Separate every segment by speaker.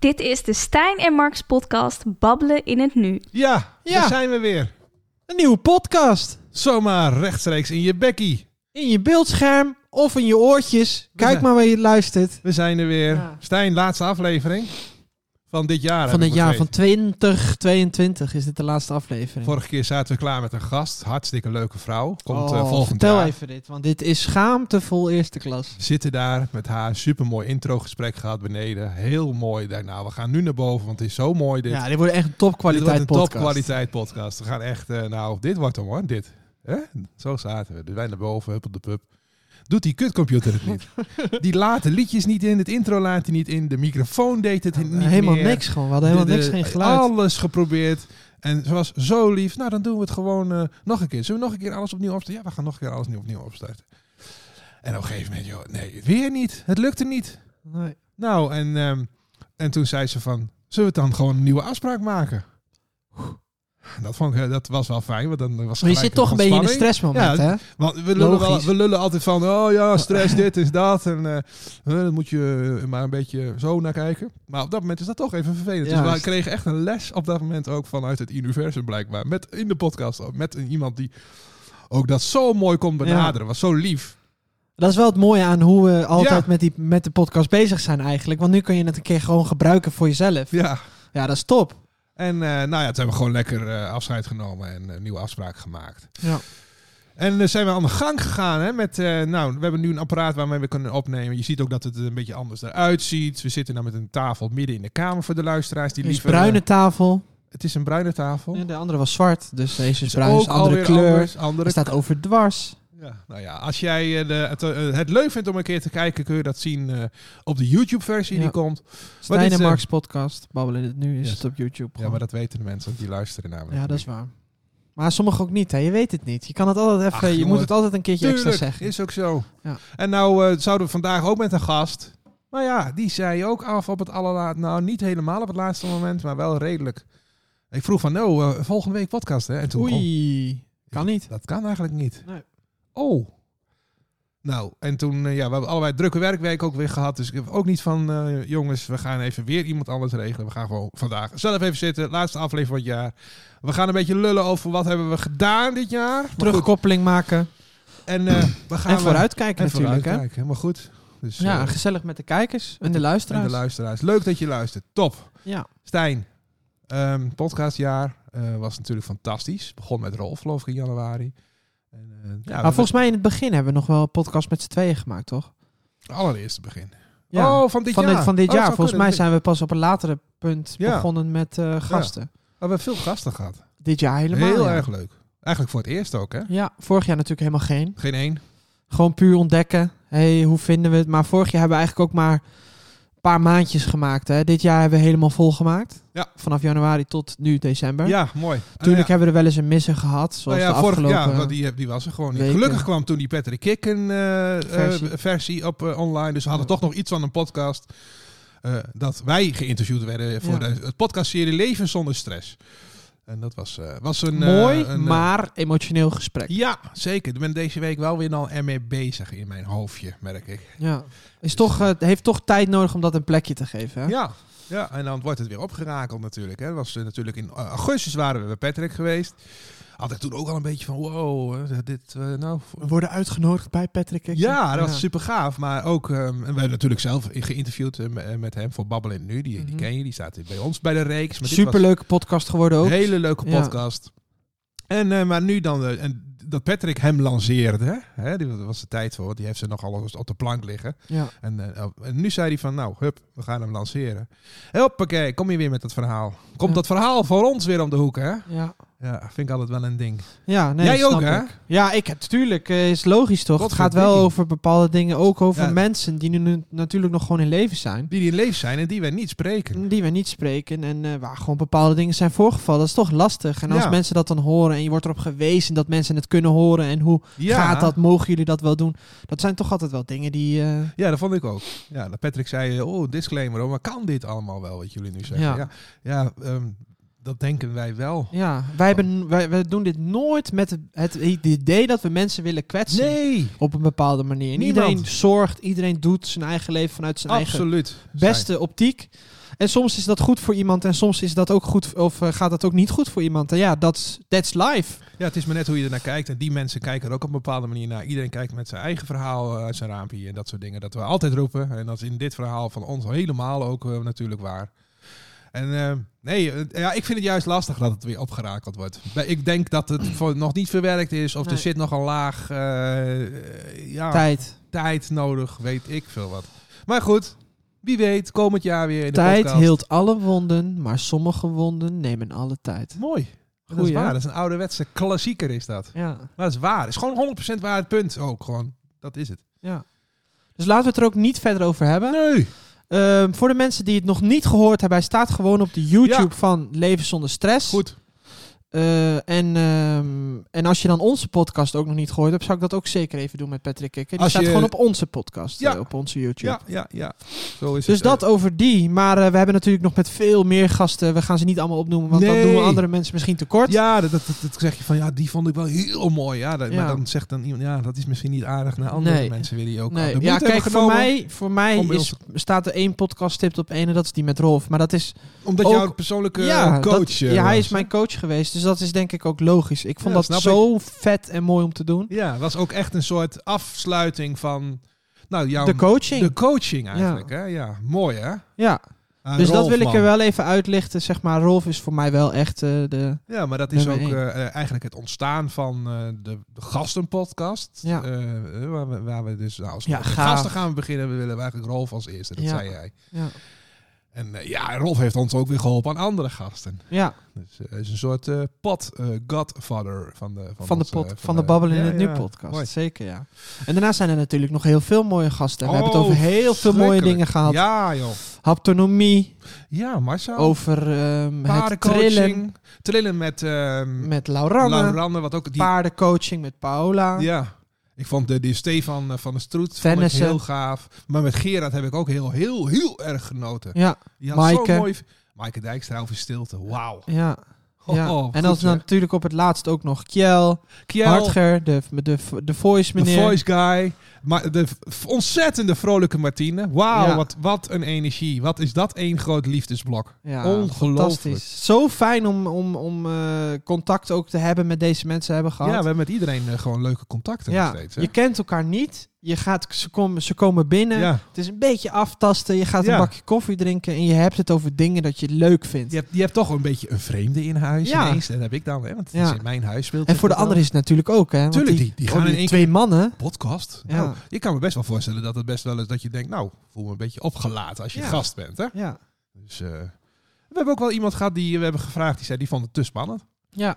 Speaker 1: Dit is de Stijn en Marks podcast Babbelen in het Nu.
Speaker 2: Ja,
Speaker 3: Ja.
Speaker 2: daar zijn we weer.
Speaker 3: Een nieuwe podcast.
Speaker 2: Zomaar rechtstreeks in je bekkie.
Speaker 3: In je beeldscherm of in je oortjes. Kijk
Speaker 2: zijn-
Speaker 3: maar waar je luistert.
Speaker 2: We zijn er weer.
Speaker 3: Ja.
Speaker 2: Stijn, laatste aflevering van dit jaar.
Speaker 3: Van
Speaker 2: heb ik
Speaker 3: het jaar van
Speaker 2: begrepen.
Speaker 3: 2022 is dit de laatste aflevering.
Speaker 2: Vorige keer zaten we klaar met een gast. Hartstikke leuke vrouw. Komt eh,
Speaker 3: Oh,
Speaker 2: volgend
Speaker 3: vertel
Speaker 2: jaar.
Speaker 3: even dit, want dit is schaamtevol eerste klas.
Speaker 2: We Zitten daar met haar. Supermooi introgesprek gehad beneden. Heel mooi daarna. We gaan nu naar boven, want het is zo mooi dit.
Speaker 3: Ja, dit wordt echt een topkwaliteit
Speaker 2: dit wordt een
Speaker 3: podcast.
Speaker 2: topkwaliteit podcast. We gaan echt, eh, nou, dit wordt hem hoor, dit. Hè? Zo zaten we. Dus wij naar boven, hup op de pub. Doet die kutcomputer het niet. die laat de liedjes niet in, het intro laat hij niet in, de microfoon deed het niet
Speaker 3: helemaal
Speaker 2: meer.
Speaker 3: niks gewoon. We hadden helemaal
Speaker 2: De- de-
Speaker 3: niks, geen geluid.
Speaker 2: Alles geprobeerd. En ze was zo lief. Nou, dan doen we het gewoon eh, nog een keer. Zullen we nog een keer alles opnieuw opstarten? Ja, we gaan nog een keer alles opnieuw, opnieuw opstarten. En op een gegeven moment, joh, nee, weer niet. Het lukte niet.
Speaker 3: Nee.
Speaker 2: Nou, en, ehm, en toen zei ze van, zullen we dan gewoon een nieuwe afspraak maken? En Dat, vond ik, eh, dat was wel fijn, want dan was
Speaker 3: Maar je
Speaker 2: gelijk
Speaker 3: zit toch een beetje in een
Speaker 2: ontspanning.
Speaker 3: stressmoment,
Speaker 2: Ja,
Speaker 3: hè?
Speaker 2: Want we lullen, wel-
Speaker 3: Logisch.
Speaker 2: we lullen altijd van, oh ja, stress, dit is dat. En eh, eh, dan moet je eh, maar een beetje zo naar kijken. Maar op dat moment is dat toch even vervelend. dus we
Speaker 3: Juist.
Speaker 2: kregen echt een les op dat moment ook vanuit het universum blijkbaar. Met, in de podcast ook. Met een- iemand die ook dat zo mooi kon benaderen. Was zo lief.
Speaker 3: Dat is wel het mooie aan hoe we altijd
Speaker 2: Ja.
Speaker 3: met, die, met de podcast bezig zijn eigenlijk. Want nu kun je het een keer gewoon gebruiken voor jezelf.
Speaker 2: Ja.
Speaker 3: Ja, dat is top.
Speaker 2: En eh, nou ja, toen hebben we gewoon lekker eh, afscheid genomen en eh, nieuwe afspraken gemaakt.
Speaker 3: Ja.
Speaker 2: En eh, zijn we aan de gang gegaan hè, met, eh, nou, we hebben nu een apparaat waarmee we kunnen opnemen. Je ziet ook dat het een beetje anders eruit ziet. We zitten nou met een tafel midden in de kamer voor de luisteraars. Die
Speaker 3: Er is
Speaker 2: liever,
Speaker 3: bruine
Speaker 2: eh,
Speaker 3: tafel.
Speaker 2: het is een bruine tafel.
Speaker 3: Ja, de andere was zwart, dus deze is
Speaker 2: Het
Speaker 3: bruin, is een andere
Speaker 2: alweer
Speaker 3: kleur.
Speaker 2: anders, andere
Speaker 3: Er staat overdwars.
Speaker 2: Ja, nou ja, als jij eh, de, het, eh, het leuk vindt om een keer te kijken, kun je dat zien eh, op de YouTube-versie
Speaker 3: Ja.
Speaker 2: die komt.
Speaker 3: Stijn
Speaker 2: is,
Speaker 3: en
Speaker 2: eh,
Speaker 3: Marks podcast, babbelen in het nu, is
Speaker 2: Yes.
Speaker 3: het op YouTube.
Speaker 2: Ja,
Speaker 3: gewoon.
Speaker 2: maar dat weten de mensen, want die luisteren namelijk.
Speaker 3: Ja, dat is
Speaker 2: niet.
Speaker 3: waar. Maar sommigen ook niet, hè. Je weet het niet. Je kan het altijd even,
Speaker 2: Ach,
Speaker 3: je
Speaker 2: jongen.
Speaker 3: moet het altijd een keertje extra
Speaker 2: Tuurlijk,
Speaker 3: zeggen.
Speaker 2: is ook zo.
Speaker 3: Ja.
Speaker 2: En nou eh, zouden we vandaag ook met een gast. Maar ja, die zei ook af op het allerlaatste. Nou, niet helemaal op het laatste moment, maar wel redelijk. Ik vroeg van, nou, eh, volgende week podcast, hè? En toen, oh,
Speaker 3: Oei, kan niet.
Speaker 2: dat kan eigenlijk niet.
Speaker 3: Nee.
Speaker 2: Oh. Nou, en toen, eh, ja, we hebben allebei drukke werkweek ook weer gehad. Dus ik heb ook niet van, eh, jongens, we gaan even weer iemand anders regelen. We gaan gewoon vandaag zelf even zitten. Laatste aflevering van het jaar. We gaan een beetje lullen over wat hebben we gedaan dit jaar. Maar goed,
Speaker 3: Terugkoppeling maken
Speaker 2: En eh, we gaan
Speaker 3: en
Speaker 2: we-
Speaker 3: vooruitkijken
Speaker 2: en
Speaker 3: natuurlijk, hè.
Speaker 2: vooruitkijken, helemaal goed. Dus,
Speaker 3: Ja,
Speaker 2: eh,
Speaker 3: gezellig met de kijkers en de
Speaker 2: en
Speaker 3: luisteraars.
Speaker 2: de luisteraars. Leuk dat je luistert. Top.
Speaker 3: ja,
Speaker 2: Stijn, ehm, podcastjaar eh, was natuurlijk fantastisch. Begon met Rolf, geloof ik, in januari. En, eh, ja,
Speaker 3: maar volgens mij in het begin hebben we nog wel een podcast met z'n tweeën gemaakt, toch?
Speaker 2: mij... Allereerste begin.
Speaker 3: Ja.
Speaker 2: Oh, van dit
Speaker 3: van
Speaker 2: jaar.
Speaker 3: dit, van dit
Speaker 2: Oh,
Speaker 3: jaar.
Speaker 2: zou
Speaker 3: Volgens
Speaker 2: kunnen.
Speaker 3: mij zijn we pas op een latere punt
Speaker 2: Ja.
Speaker 3: begonnen met eh, gasten.
Speaker 2: Oh, We hebben veel gasten gehad.
Speaker 3: Dit jaar helemaal.
Speaker 2: Heel
Speaker 3: ja.
Speaker 2: erg leuk. Eigenlijk voor het eerst ook, hè?
Speaker 3: Ja, vorig jaar natuurlijk helemaal geen.
Speaker 2: Geen één.
Speaker 3: Gewoon puur ontdekken. hey, hoe vinden we het? Maar vorig jaar hebben we eigenlijk ook maar een paar maandjes gemaakt. Hè. Dit jaar hebben we helemaal vol gemaakt.
Speaker 2: Ja.
Speaker 3: Vanaf januari tot nu december.
Speaker 2: Ja, mooi.
Speaker 3: Natuurlijk
Speaker 2: Ah, ja.
Speaker 3: hebben we er wel eens een misser gehad. Zoals
Speaker 2: Nou ja,
Speaker 3: de
Speaker 2: vorig
Speaker 3: afgelopen...
Speaker 2: jaar, want die, die was er gewoon niet.
Speaker 3: weken.
Speaker 2: Gelukkig kwam toen die Patrick Kikken eh, eh, versie.
Speaker 3: Versie.
Speaker 2: op eh, online. Dus we hadden
Speaker 3: Ja.
Speaker 2: toch nog iets van een podcast. eh, dat wij geïnterviewd werden voor
Speaker 3: Ja.
Speaker 2: de het podcastserie Leven zonder stress. En dat was, eh, was een... eh,
Speaker 3: Mooi,
Speaker 2: een, eh,
Speaker 3: maar emotioneel gesprek.
Speaker 2: ja, zeker. Ik ben deze week wel weer al ermee bezig in mijn hoofdje, merk ik.
Speaker 3: Ja. Is toch, eh, heeft toch tijd nodig om dat een plekje te geven. Hè?
Speaker 2: Ja, ja en dan wordt het weer opgerakeld natuurlijk. Hè. Dat was eh, natuurlijk in eh, augustus waren we bij Patrick geweest. Had ik toen ook al een beetje van, wow, eh, dit, eh, nou,
Speaker 3: We worden uitgenodigd bij Patrick. Hickson.
Speaker 2: Ja, dat was super gaaf. Maar ook, ehm, en we hebben natuurlijk zelf in- geïnterviewd eh, m- eh, met hem voor Babbel in het Nu. Die, die
Speaker 3: Mhm.
Speaker 2: ken je, die staat hier bij ons bij de reeks. Maar dit was
Speaker 3: Superleuke podcast geworden ook.
Speaker 2: Een hele leuke
Speaker 3: Ja.
Speaker 2: podcast. En, eh, maar nu dan, eh, en dat Patrick hem lanceerde, hè, die was de tijd voor, want die heeft ze nogal eens op de plank liggen.
Speaker 3: Ja.
Speaker 2: En, eh, oh, en nu zei hij van, nou, hup, we gaan hem lanceren. Hoppakee, kom je weer met dat verhaal. Komt
Speaker 3: Ja.
Speaker 2: dat verhaal voor ons weer om de hoek, hè?
Speaker 3: Ja.
Speaker 2: Ja, vind ik altijd wel een ding.
Speaker 3: Ja, nee,
Speaker 2: Jij
Speaker 3: snap
Speaker 2: ook, hè?
Speaker 3: ik. Ja, ik heb natuurlijk. eh, is logisch toch? Het gaat wel
Speaker 2: Godverdikkie.
Speaker 3: over bepaalde dingen. Ook over
Speaker 2: Ja.
Speaker 3: mensen die nu- nu natuurlijk nog gewoon in leven zijn.
Speaker 2: Die die in leef zijn en die wij niet spreken.
Speaker 3: Die we niet spreken en eh, waar gewoon bepaalde dingen zijn voorgevallen. Dat is toch lastig. En als
Speaker 2: Ja.
Speaker 3: mensen dat dan horen en je wordt erop gewezen dat mensen het kunnen horen. En hoe
Speaker 2: Ja.
Speaker 3: gaat dat? Mogen jullie dat wel doen? Dat zijn toch altijd wel dingen die. eh,
Speaker 2: Ja, dat vond ik ook. Ja, dat Patrick zei, eh, oh, disclaimer, hoor, maar kan dit allemaal wel, wat jullie nu zeggen? Ja,
Speaker 3: Ja.
Speaker 2: ja, ehm, dat denken wij wel.
Speaker 3: Ja, wij, hebben, wij, wij doen dit nooit met het, het idee dat we mensen willen kwetsen.
Speaker 2: Nee,
Speaker 3: Op een bepaalde manier. En
Speaker 2: Niemand.
Speaker 3: Iedereen zorgt, iedereen doet zijn eigen leven vanuit zijn eigen
Speaker 2: absoluut.
Speaker 3: beste optiek. En soms is dat goed voor iemand en soms is dat ook goed, of eh, gaat dat ook niet goed voor iemand. En ja, that's, that's life.
Speaker 2: Ja, het is maar net hoe je ernaar kijkt. En die mensen kijken er ook op een bepaalde manier naar. Iedereen kijkt met zijn eigen verhaal eh, uit zijn raampje en dat soort dingen. Dat we altijd roepen. En dat is in dit verhaal van ons helemaal ook eh, natuurlijk waar. En eh, nee, eh, ja, ik vind het juist lastig dat het weer opgerakeld wordt. Bij- Ik denk dat het voor- nog niet verwerkt is. Of er
Speaker 3: Nee.
Speaker 2: zit nog een laag eh, eh, ja,
Speaker 3: Tijd.
Speaker 2: tijd nodig. Weet ik veel wat. Maar goed, wie weet komend jaar weer in de
Speaker 3: Tijd
Speaker 2: podcast.
Speaker 3: heelt alle wonden, maar sommige wonden nemen alle tijd.
Speaker 2: Mooi. dat is
Speaker 3: Goeie, hè?
Speaker 2: waar. Dat is een ouderwetse klassieker is dat.
Speaker 3: Ja,
Speaker 2: Maar dat is waar. Het is gewoon 100% waar het punt ook. Gewoon, dat is het.
Speaker 3: ja. Dus laten we het er ook niet verder over hebben.
Speaker 2: Nee.
Speaker 3: Ehm, voor de mensen die het nog niet gehoord hebben, hij staat gewoon op de YouTube van Leven zonder stress.
Speaker 2: Goed.
Speaker 3: Eh, en, ehm, en als je dan onze podcast ook nog niet gehoord hebt, zou ik dat ook zeker even doen met Patrick Kikker. Die
Speaker 2: Als
Speaker 3: staat
Speaker 2: je-
Speaker 3: gewoon op onze podcast,
Speaker 2: Ja.
Speaker 3: eh, op onze YouTube.
Speaker 2: Ja, ja, ja. Zo is
Speaker 3: Dus
Speaker 2: het.
Speaker 3: dat over die. Maar eh, we hebben natuurlijk nog met veel meer gasten. We gaan ze niet allemaal opnoemen, want
Speaker 2: Nee.
Speaker 3: dan doen we andere mensen misschien tekort.
Speaker 2: Ja, dat, dat, dat, dat zeg je van, ja, die vond ik wel heel mooi. Ja, dat-
Speaker 3: Ja.
Speaker 2: maar dan zegt dan iemand, ja, dat is misschien niet aardig naar andere
Speaker 3: Nee.
Speaker 2: mensen weer die ook al de
Speaker 3: Nee.
Speaker 2: moeite
Speaker 3: Ja,
Speaker 2: hebben
Speaker 3: kijk, voor
Speaker 2: genomen.
Speaker 3: mij, voor mij
Speaker 2: om bij
Speaker 3: is, staat er één podcast tipt op één en dat is die met Rolf. Maar dat is,
Speaker 2: Omdat
Speaker 3: ook-
Speaker 2: jouw persoonlijke
Speaker 3: ja,
Speaker 2: coach...
Speaker 3: dat-
Speaker 2: eh,
Speaker 3: ja, hij
Speaker 2: was.
Speaker 3: is mijn coach geweest, dus dat is denk ik ook logisch. Ik
Speaker 2: Ja,
Speaker 3: vond
Speaker 2: snap
Speaker 3: dat
Speaker 2: ik.
Speaker 3: zo vet en mooi om te doen.
Speaker 2: Ja, was ook echt een soort afsluiting van... Nou, jouw...
Speaker 3: De coaching.
Speaker 2: de coaching eigenlijk, hè. Ja, mooi, hè.
Speaker 3: ja,
Speaker 2: Aan
Speaker 3: dus dat
Speaker 2: Rolf,
Speaker 3: wil ik er
Speaker 2: man.
Speaker 3: wel even uitlichten. Zeg maar, Rolf is voor mij wel echt eh, de...
Speaker 2: Ja, maar dat is ook
Speaker 3: Nummer één.
Speaker 2: eh, eh, eigenlijk het ontstaan van eh, de, de gastenpodcast.
Speaker 3: Ja.
Speaker 2: Eh, eh, waar, we, waar we dus nou, als we
Speaker 3: Ja,
Speaker 2: met
Speaker 3: gaaf.
Speaker 2: gasten gaan we beginnen. We willen eigenlijk Rolf als eerste, dat
Speaker 3: Ja.
Speaker 2: zei jij.
Speaker 3: Ja,
Speaker 2: En eh, ja, Rolf heeft ons ook weer geholpen aan andere gasten.
Speaker 3: ja
Speaker 2: Dus eh, hij is een soort eh pot eh, godfather van de,
Speaker 3: van, de
Speaker 2: ons,
Speaker 3: pot,
Speaker 2: eh,
Speaker 3: van, de Babbel in
Speaker 2: Ja,
Speaker 3: het Nu
Speaker 2: ja.
Speaker 3: podcast.
Speaker 2: Mooi.
Speaker 3: Zeker, ja. En daarna zijn er natuurlijk nog heel veel mooie gasten. We hebben het
Speaker 2: Oh,
Speaker 3: over heel veel mooie dingen gehad.
Speaker 2: Ja, joh.
Speaker 3: Haptonomie,
Speaker 2: Ja, Marcel.
Speaker 3: over ehm, het trillen
Speaker 2: Paardencoaching. Trillen met ehm
Speaker 3: met Lauranne,
Speaker 2: Lauranne, wat ook die
Speaker 3: paardencoaching met Paola.
Speaker 2: Ja. Ik vond de, die Stefan eh, van de Stroet vond ik
Speaker 3: Tennissen.
Speaker 2: heel gaaf. Maar met Gerard heb ik ook heel, heel, heel erg genoten.
Speaker 3: Ja,
Speaker 2: Die had zo'n
Speaker 3: Maaike.
Speaker 2: mooi... Maaike Dijkstra over stilte. Wauw.
Speaker 3: ja.
Speaker 2: Oh,
Speaker 3: ja.
Speaker 2: oh,
Speaker 3: en
Speaker 2: goed,
Speaker 3: dan is
Speaker 2: zeg.
Speaker 3: natuurlijk op het laatst ook nog Kjell,
Speaker 2: Kjell,
Speaker 3: Hartger, de, de, de voice
Speaker 2: de
Speaker 3: meneer.
Speaker 2: voice guy. Maar de v- ontzettende vrolijke Martine. Wauw,
Speaker 3: Ja.
Speaker 2: wat, wat een energie. Wat is dat één groot liefdesblok.
Speaker 3: Ja,
Speaker 2: Ongelooflijk.
Speaker 3: fantastisch. Zo fijn om, om, om eh, contact ook te hebben met deze mensen hebben
Speaker 2: Ja,
Speaker 3: gehad.
Speaker 2: we hebben met iedereen eh, gewoon leuke contacten nog
Speaker 3: Ja,
Speaker 2: steeds. Hè?
Speaker 3: je eh, kent elkaar niet. Je gaat, ze, komen, ze komen binnen.
Speaker 2: Ja.
Speaker 3: Het is een beetje aftasten. Je gaat
Speaker 2: Ja.
Speaker 3: een bakje koffie drinken. En je hebt het over dingen dat je leuk vindt.
Speaker 2: Je hebt, je hebt toch een beetje een vreemde in huis
Speaker 3: Ja.
Speaker 2: ineens. Dat heb ik dan, hè, want het
Speaker 3: Ja.
Speaker 2: is in mijn huis. speelt
Speaker 3: En
Speaker 2: het
Speaker 3: voor de
Speaker 2: wel.
Speaker 3: anderen is het natuurlijk ook. Hè? want
Speaker 2: Tuurlijk, die- die
Speaker 3: oh,
Speaker 2: gaan in één
Speaker 3: twee mannen.
Speaker 2: podcast.
Speaker 3: Ja.
Speaker 2: Nou, ik kan me best wel voorstellen dat het best wel is dat je denkt, nou, voel me een beetje opgelaten als je
Speaker 3: Ja.
Speaker 2: gast bent. Hè?
Speaker 3: Ja.
Speaker 2: Dus, eh, we hebben ook wel iemand gehad die eh, we hebben gevraagd, die zei, die vond het te spannend.
Speaker 3: ja.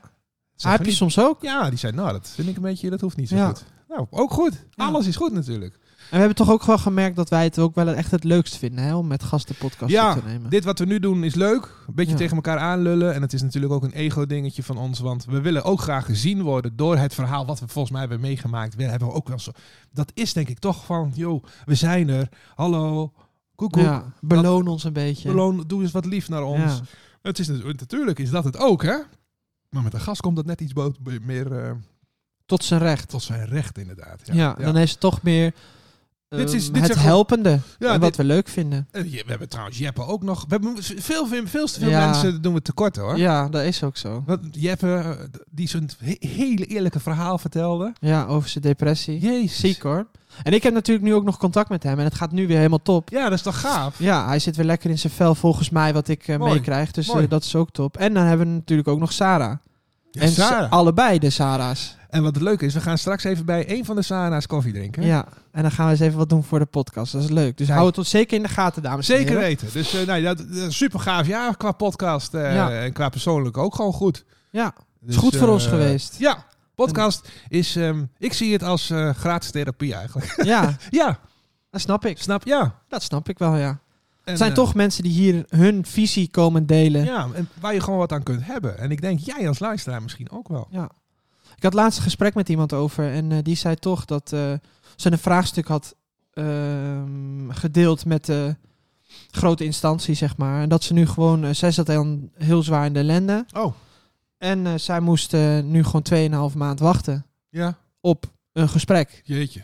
Speaker 2: Zeg
Speaker 3: Ah, heb
Speaker 2: maar
Speaker 3: je
Speaker 2: niet.
Speaker 3: soms ook.
Speaker 2: Ja, die zei, nou, dat vind ik een beetje, dat hoeft niet zo
Speaker 3: Ja.
Speaker 2: goed. Nou, ook goed.
Speaker 3: Ja.
Speaker 2: Alles is goed natuurlijk.
Speaker 3: En we hebben toch ook wel gemerkt dat wij het ook wel echt het leukst vinden. Hè? Om met gasten podcast
Speaker 2: Ja,
Speaker 3: op te nemen.
Speaker 2: Dit wat we nu doen is leuk. Een beetje
Speaker 3: Ja.
Speaker 2: tegen elkaar aanlullen. En het is natuurlijk ook een ego-dingetje van ons. Want we willen ook graag gezien worden door het verhaal wat we volgens mij hebben meegemaakt. We hebben ook wel zo. Dat is denk ik toch van, joh, we zijn er. Hallo, koekoek.
Speaker 3: ja, beloon ons een beetje.
Speaker 2: Beloon, doe eens wat lief naar ons.
Speaker 3: Ja.
Speaker 2: Het is, natu- natuurlijk is dat het ook, hè? Maar met een gast komt dat net iets bo- be- meer eh,
Speaker 3: Tot zijn recht.
Speaker 2: tot zijn recht, inderdaad.
Speaker 3: Ja, dan is het toch meer
Speaker 2: Dit is-
Speaker 3: ehm,
Speaker 2: dit
Speaker 3: het
Speaker 2: zegt ook-
Speaker 3: helpende.
Speaker 2: Ja,
Speaker 3: en wat
Speaker 2: dit-
Speaker 3: we leuk vinden.
Speaker 2: Eh, je- we hebben trouwens Jeppe ook nog. We hebben veel, veel, veel te veel
Speaker 3: Ja.
Speaker 2: mensen doen we tekort, hoor.
Speaker 3: Ja, dat is ook zo.
Speaker 2: Want Jeppe, eh, die zo'n he- hele eerlijke verhaal vertelde.
Speaker 3: Ja, over zijn depressie.
Speaker 2: Jezus.
Speaker 3: Ziek hoor. En ik heb natuurlijk nu ook nog contact met hem en het gaat nu weer helemaal top.
Speaker 2: Ja, dat is toch gaaf?
Speaker 3: Ja, hij zit weer lekker in zijn vel volgens mij wat ik eh,
Speaker 2: Mooi.
Speaker 3: meekrijg. Dus eh,
Speaker 2: Mooi.
Speaker 3: dat is ook top. En dan hebben we natuurlijk ook nog Sarah.
Speaker 2: Ja,
Speaker 3: en ze-
Speaker 2: Sarah.
Speaker 3: allebei de Sarah's.
Speaker 2: En wat het leuke is, we gaan straks even bij een van de Sarah's koffie drinken.
Speaker 3: Ja, en dan gaan we eens even wat doen voor de podcast. Dat is leuk. Dus
Speaker 2: Ja.
Speaker 3: hou het ons zeker in de gaten, dames en
Speaker 2: Zeker
Speaker 3: heren.
Speaker 2: weten. Dus eh, nou, ja, dat, dat is super gaaf jaar qua podcast eh,
Speaker 3: Ja.
Speaker 2: en qua persoonlijk ook gewoon goed.
Speaker 3: Ja,
Speaker 2: Dus,
Speaker 3: goed voor
Speaker 2: eh,
Speaker 3: ons geweest.
Speaker 2: Ja, podcast is, ehm, ik zie het als eh, gratis therapie eigenlijk.
Speaker 3: ja,
Speaker 2: ja,
Speaker 3: dat snap ik.
Speaker 2: snap, ja.
Speaker 3: Dat snap ik wel, ja.
Speaker 2: En,
Speaker 3: Het zijn
Speaker 2: eh,
Speaker 3: toch mensen die hier hun visie komen delen.
Speaker 2: Ja, en waar je gewoon wat aan kunt hebben. En ik denk, jij als luisteraar misschien ook wel.
Speaker 3: Ik had laatst een gesprek met iemand over en eh, die zei toch dat eh, ze een vraagstuk had ehm, gedeeld met, eh, grote instantie, zeg maar. En dat ze nu gewoon, eh, zij zat dan heel zwaar in de ellende.
Speaker 2: Oh,
Speaker 3: En eh, zij moest eh, nu gewoon 2,5 maand wachten
Speaker 2: ja.
Speaker 3: op een gesprek.
Speaker 2: Jeetje.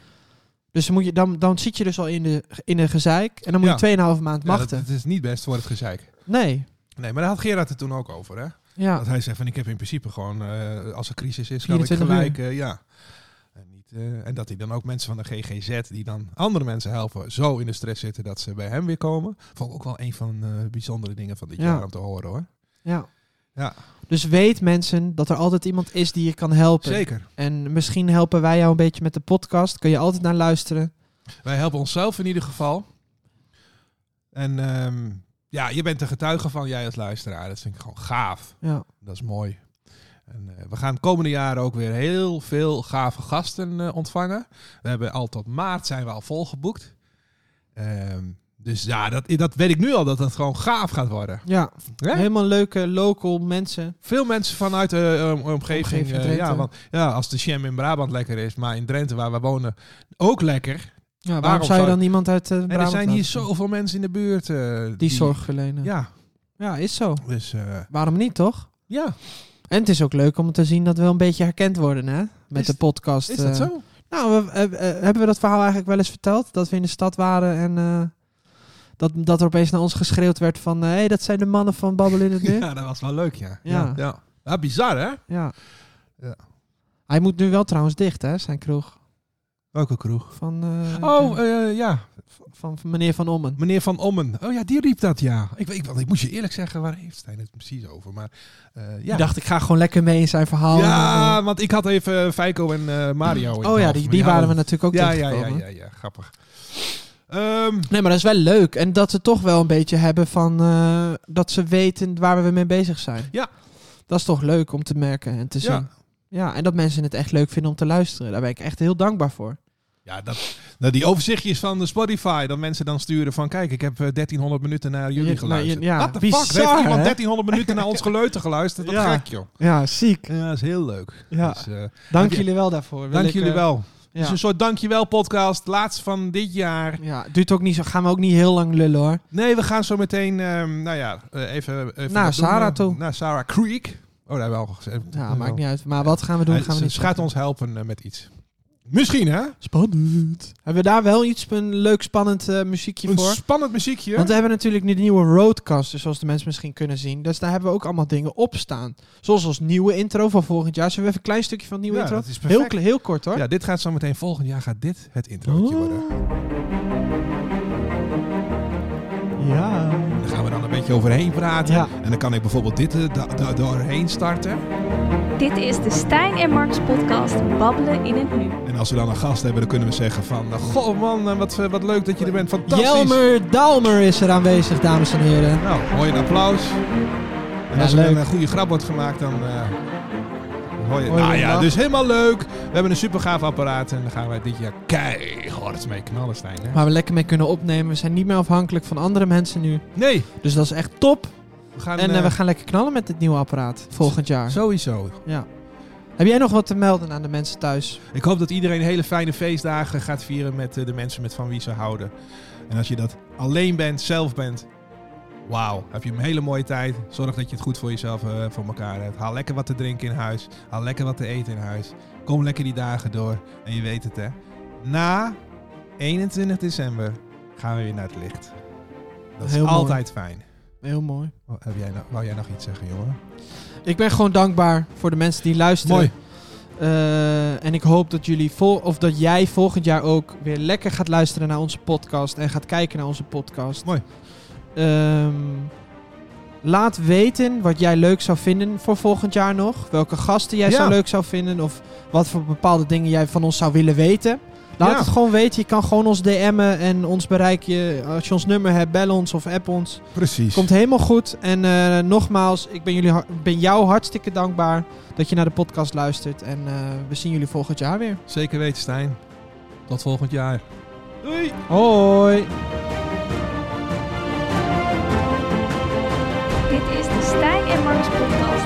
Speaker 3: Dus dan, moet je, dan, dan zit je dus al in de, in de gezeik. En dan moet je 2,5 maand
Speaker 2: Ja, dat,
Speaker 3: wachten.
Speaker 2: dat is niet best voor het gezeik.
Speaker 3: Nee.
Speaker 2: Nee, maar daar had Gerard het toen ook over, hè?
Speaker 3: Ja.
Speaker 2: Dat hij zei van, ik heb in principe gewoon, eh, als er crisis is, kan ik
Speaker 3: 24 uur.
Speaker 2: gelijk, eh, ja. En, niet, eh, en dat hij dan ook mensen van de GGZ, die dan andere mensen helpen, zo in de stress zitten dat ze bij hem weer komen. Vond ik ook wel een van de bijzondere dingen van dit
Speaker 3: Ja.
Speaker 2: jaar om te horen, hoor.
Speaker 3: ja.
Speaker 2: Ja.
Speaker 3: Dus weet mensen dat er altijd iemand is die je kan helpen.
Speaker 2: Zeker.
Speaker 3: En misschien helpen wij jou een beetje met de podcast. Kun je altijd naar luisteren.
Speaker 2: Wij helpen onszelf in ieder geval. En ehm, ja, je bent er getuige van, jij als luisteraar. Dat vind ik gewoon gaaf.
Speaker 3: Ja.
Speaker 2: Dat is mooi. En, eh, we gaan de komende jaren ook weer heel veel gave gasten eh, ontvangen. We hebben al tot maart zijn we al volgeboekt. Ehm, dus ja, dat, dat weet ik nu al dat dat gewoon gaaf gaat worden.
Speaker 3: ja.
Speaker 2: Hè?
Speaker 3: Helemaal leuke local mensen.
Speaker 2: Veel mensen vanuit de eh, om- omgeving.
Speaker 3: Omgeving
Speaker 2: eh,
Speaker 3: Drenthe.
Speaker 2: ja, want ja, als de Sham in Brabant lekker is, maar in Drenthe waar we wonen ook lekker.
Speaker 3: Ja, waarom,
Speaker 2: Waarom
Speaker 3: zou je
Speaker 2: zou-
Speaker 3: dan iemand uit eh
Speaker 2: en er
Speaker 3: Brabant
Speaker 2: zijn hier
Speaker 3: laten?
Speaker 2: zoveel mensen in de buurt. eh,
Speaker 3: Die zorg verlenen. Ja.
Speaker 2: Ja,
Speaker 3: is zo.
Speaker 2: dus eh,
Speaker 3: Waarom niet, toch?
Speaker 2: ja,
Speaker 3: En het is ook leuk om te zien dat we een beetje herkend worden, hè? Met
Speaker 2: Is-
Speaker 3: de podcast.
Speaker 2: is dat
Speaker 3: eh.
Speaker 2: zo?
Speaker 3: Nou, we- eh, eh, hebben we dat verhaal eigenlijk wel eens verteld? Dat we in de stad waren en eh, dat, dat er opeens naar ons geschreeuwd werd van... Hé, hey, dat zijn de mannen van Babbel in het Nu. ja.
Speaker 2: Ja, dat was wel leuk, ja.
Speaker 3: Ja.
Speaker 2: ja. Ja, bizar hè? Ja.
Speaker 3: Hij moet nu wel trouwens dicht, hè, zijn kroeg.
Speaker 2: Welke kroeg?
Speaker 3: Van, eh,
Speaker 2: Oh, eh, ja.
Speaker 3: van, van meneer Van Ommen.
Speaker 2: Meneer Van Ommen. Oh ja, die riep dat, ja. Ik, weet, want ik moet je eerlijk zeggen, waar heeft Stijn het precies over? Maar eh, ja.
Speaker 3: Ik dacht, ik ga gewoon lekker mee in zijn verhaal. En,
Speaker 2: ja, want ik had even eh, Feiko en eh, Mario. in
Speaker 3: eh,
Speaker 2: het
Speaker 3: oh ja,
Speaker 2: hoofd,
Speaker 3: die,
Speaker 2: maar
Speaker 3: die waren we
Speaker 2: hadden-
Speaker 3: natuurlijk ook
Speaker 2: ja, ja, ja,
Speaker 3: tegengekomen.
Speaker 2: ja, ja, grappig. Ehm,
Speaker 3: Nee, maar dat is wel leuk. En dat ze toch wel een beetje hebben van... eh, dat ze weten waar we mee bezig zijn.
Speaker 2: Ja.
Speaker 3: Dat is toch leuk om te merken en te zien.
Speaker 2: ja,
Speaker 3: Ja, en dat mensen het echt leuk vinden om te luisteren. Daar ben ik echt heel dankbaar voor.
Speaker 2: ja dat, nou, die overzichtjes van de Spotify, dat mensen dan sturen van, kijk, ik heb eh, 1300 minuten naar
Speaker 3: Ja,
Speaker 2: jullie
Speaker 3: nou,
Speaker 2: geluisterd.
Speaker 3: ja,
Speaker 2: What the
Speaker 3: bizar,
Speaker 2: fuck? Heeft iemand
Speaker 3: hè?
Speaker 2: 1300 minuten naar ons geleuten geluisterd? Dat
Speaker 3: Ja.
Speaker 2: gek, joh.
Speaker 3: Ja, ziek.
Speaker 2: Ja, dat is heel leuk.
Speaker 3: Ja.
Speaker 2: Dus, eh,
Speaker 3: Dank
Speaker 2: je-
Speaker 3: jullie wel daarvoor. Wil
Speaker 2: dank
Speaker 3: ik,
Speaker 2: jullie
Speaker 3: eh,
Speaker 2: wel.
Speaker 3: Ja.
Speaker 2: Dus een soort dankjewel-podcast, laatste van dit jaar.
Speaker 3: Ja, het duurt ook niet zo. Gaan we ook niet heel lang lullen hoor.
Speaker 2: Nee, we gaan zo meteen, ehm, nou ja, eh, even, even...
Speaker 3: Naar
Speaker 2: wat doen we?
Speaker 3: Sarah toe.
Speaker 2: Naar Sarah Creek. Oh, daar hebben we al gezegd.
Speaker 3: Ja, maakt niet uit. Maar wat gaan we doen?
Speaker 2: Hij-
Speaker 3: gaan we
Speaker 2: ze
Speaker 3: niet
Speaker 2: ze gaat ons helpen eh, met iets. Misschien, hè?
Speaker 3: Spannend. Hebben we daar wel iets een leuk spannend eh, muziekje
Speaker 2: Een
Speaker 3: voor?
Speaker 2: spannend muziekje.
Speaker 3: Want eh, we hebben natuurlijk nu de nieuwe roadcaster, zoals de mensen misschien kunnen zien. Dus daar hebben we ook allemaal dingen op staan. Zoals ons nieuwe intro van volgend jaar. Zullen we even een klein stukje van het nieuwe
Speaker 2: Ja,
Speaker 3: intro?
Speaker 2: dat is perfect.
Speaker 3: heel, kle- heel kort hoor.
Speaker 2: ja, dit gaat zo meteen volgend jaar gaat dit het introotje worden.
Speaker 3: Oh. Ja.
Speaker 2: Daar gaan we dan een beetje overheen praten.
Speaker 3: Ja.
Speaker 2: En dan kan ik bijvoorbeeld dit eh, da- da- doorheen starten.
Speaker 1: Dit is de Stijn en Marks podcast Babbelen in het Nu.
Speaker 2: En als we dan een gast hebben, dan kunnen we zeggen van... eh, Goh man, eh, wat, eh, wat leuk dat je er bent. Fantastisch.
Speaker 3: Jelmer Dalmer is er aanwezig, dames en heren.
Speaker 2: Nou, mooi een applaus. En
Speaker 3: Ja,
Speaker 2: als er
Speaker 3: leuk.
Speaker 2: een eh, goede grap wordt gemaakt, dan eh, hoor je...
Speaker 3: Hoor je
Speaker 2: nou
Speaker 3: de
Speaker 2: ja,
Speaker 3: lach.
Speaker 2: dus helemaal leuk. We hebben een super gaaf apparaat en daar gaan wij dit jaar keihard mee knallen, Stijn. Hè?
Speaker 3: Waar we lekker mee kunnen opnemen. We zijn niet meer afhankelijk van andere mensen nu.
Speaker 2: Nee,
Speaker 3: Dus dat is echt top.
Speaker 2: we gaan...
Speaker 3: En eh,
Speaker 2: eh,
Speaker 3: we gaan lekker knallen met dit nieuwe apparaat volgend jaar.
Speaker 2: Sowieso.
Speaker 3: Heb jij nog wat te melden aan de mensen thuis?
Speaker 2: Ik hoop dat iedereen hele fijne feestdagen gaat vieren met eh, de mensen met van wie ze houden. En als je dat alleen bent, zelf bent, wauw, heb je een hele mooie tijd. Zorg dat je het goed voor jezelf, eh, voor elkaar hebt. Haal lekker wat te drinken in huis. Haal lekker wat te eten in huis. Kom lekker die dagen door. En je weet het hè. Na 21 december gaan we weer naar het licht. Dat is
Speaker 3: Heel mooi.
Speaker 2: altijd fijn.
Speaker 3: Heel mooi.
Speaker 2: Wat Heb jij nou, wou jij nog iets zeggen, jongen?
Speaker 3: Ik ben gewoon dankbaar voor de mensen die luisteren.
Speaker 2: Mooi.
Speaker 3: Eh, en ik hoop dat, jullie vol of dat jij volgend jaar ook weer lekker gaat luisteren naar onze podcast. En gaat kijken naar onze podcast.
Speaker 2: Mooi.
Speaker 3: Ehm, laat weten wat jij leuk zou vinden voor volgend jaar nog. Welke gasten jij
Speaker 2: Ja.
Speaker 3: zou leuk zou vinden. Of wat voor bepaalde dingen jij van ons zou willen weten. Laat
Speaker 2: Ja.
Speaker 3: het gewoon weten. Je kan gewoon ons DM'en en ons bereik je. Als je ons nummer hebt, bel ons of app ons.
Speaker 2: Precies.
Speaker 3: Komt helemaal goed. En eh, nogmaals, ik ben, jullie, har- ben jou hartstikke dankbaar dat je naar de podcast luistert. En eh, we zien jullie volgend jaar weer.
Speaker 2: Zeker weten, Stijn. Tot volgend jaar. Doei!
Speaker 3: Hoi!
Speaker 1: Dit is de Stijn en Marks podcast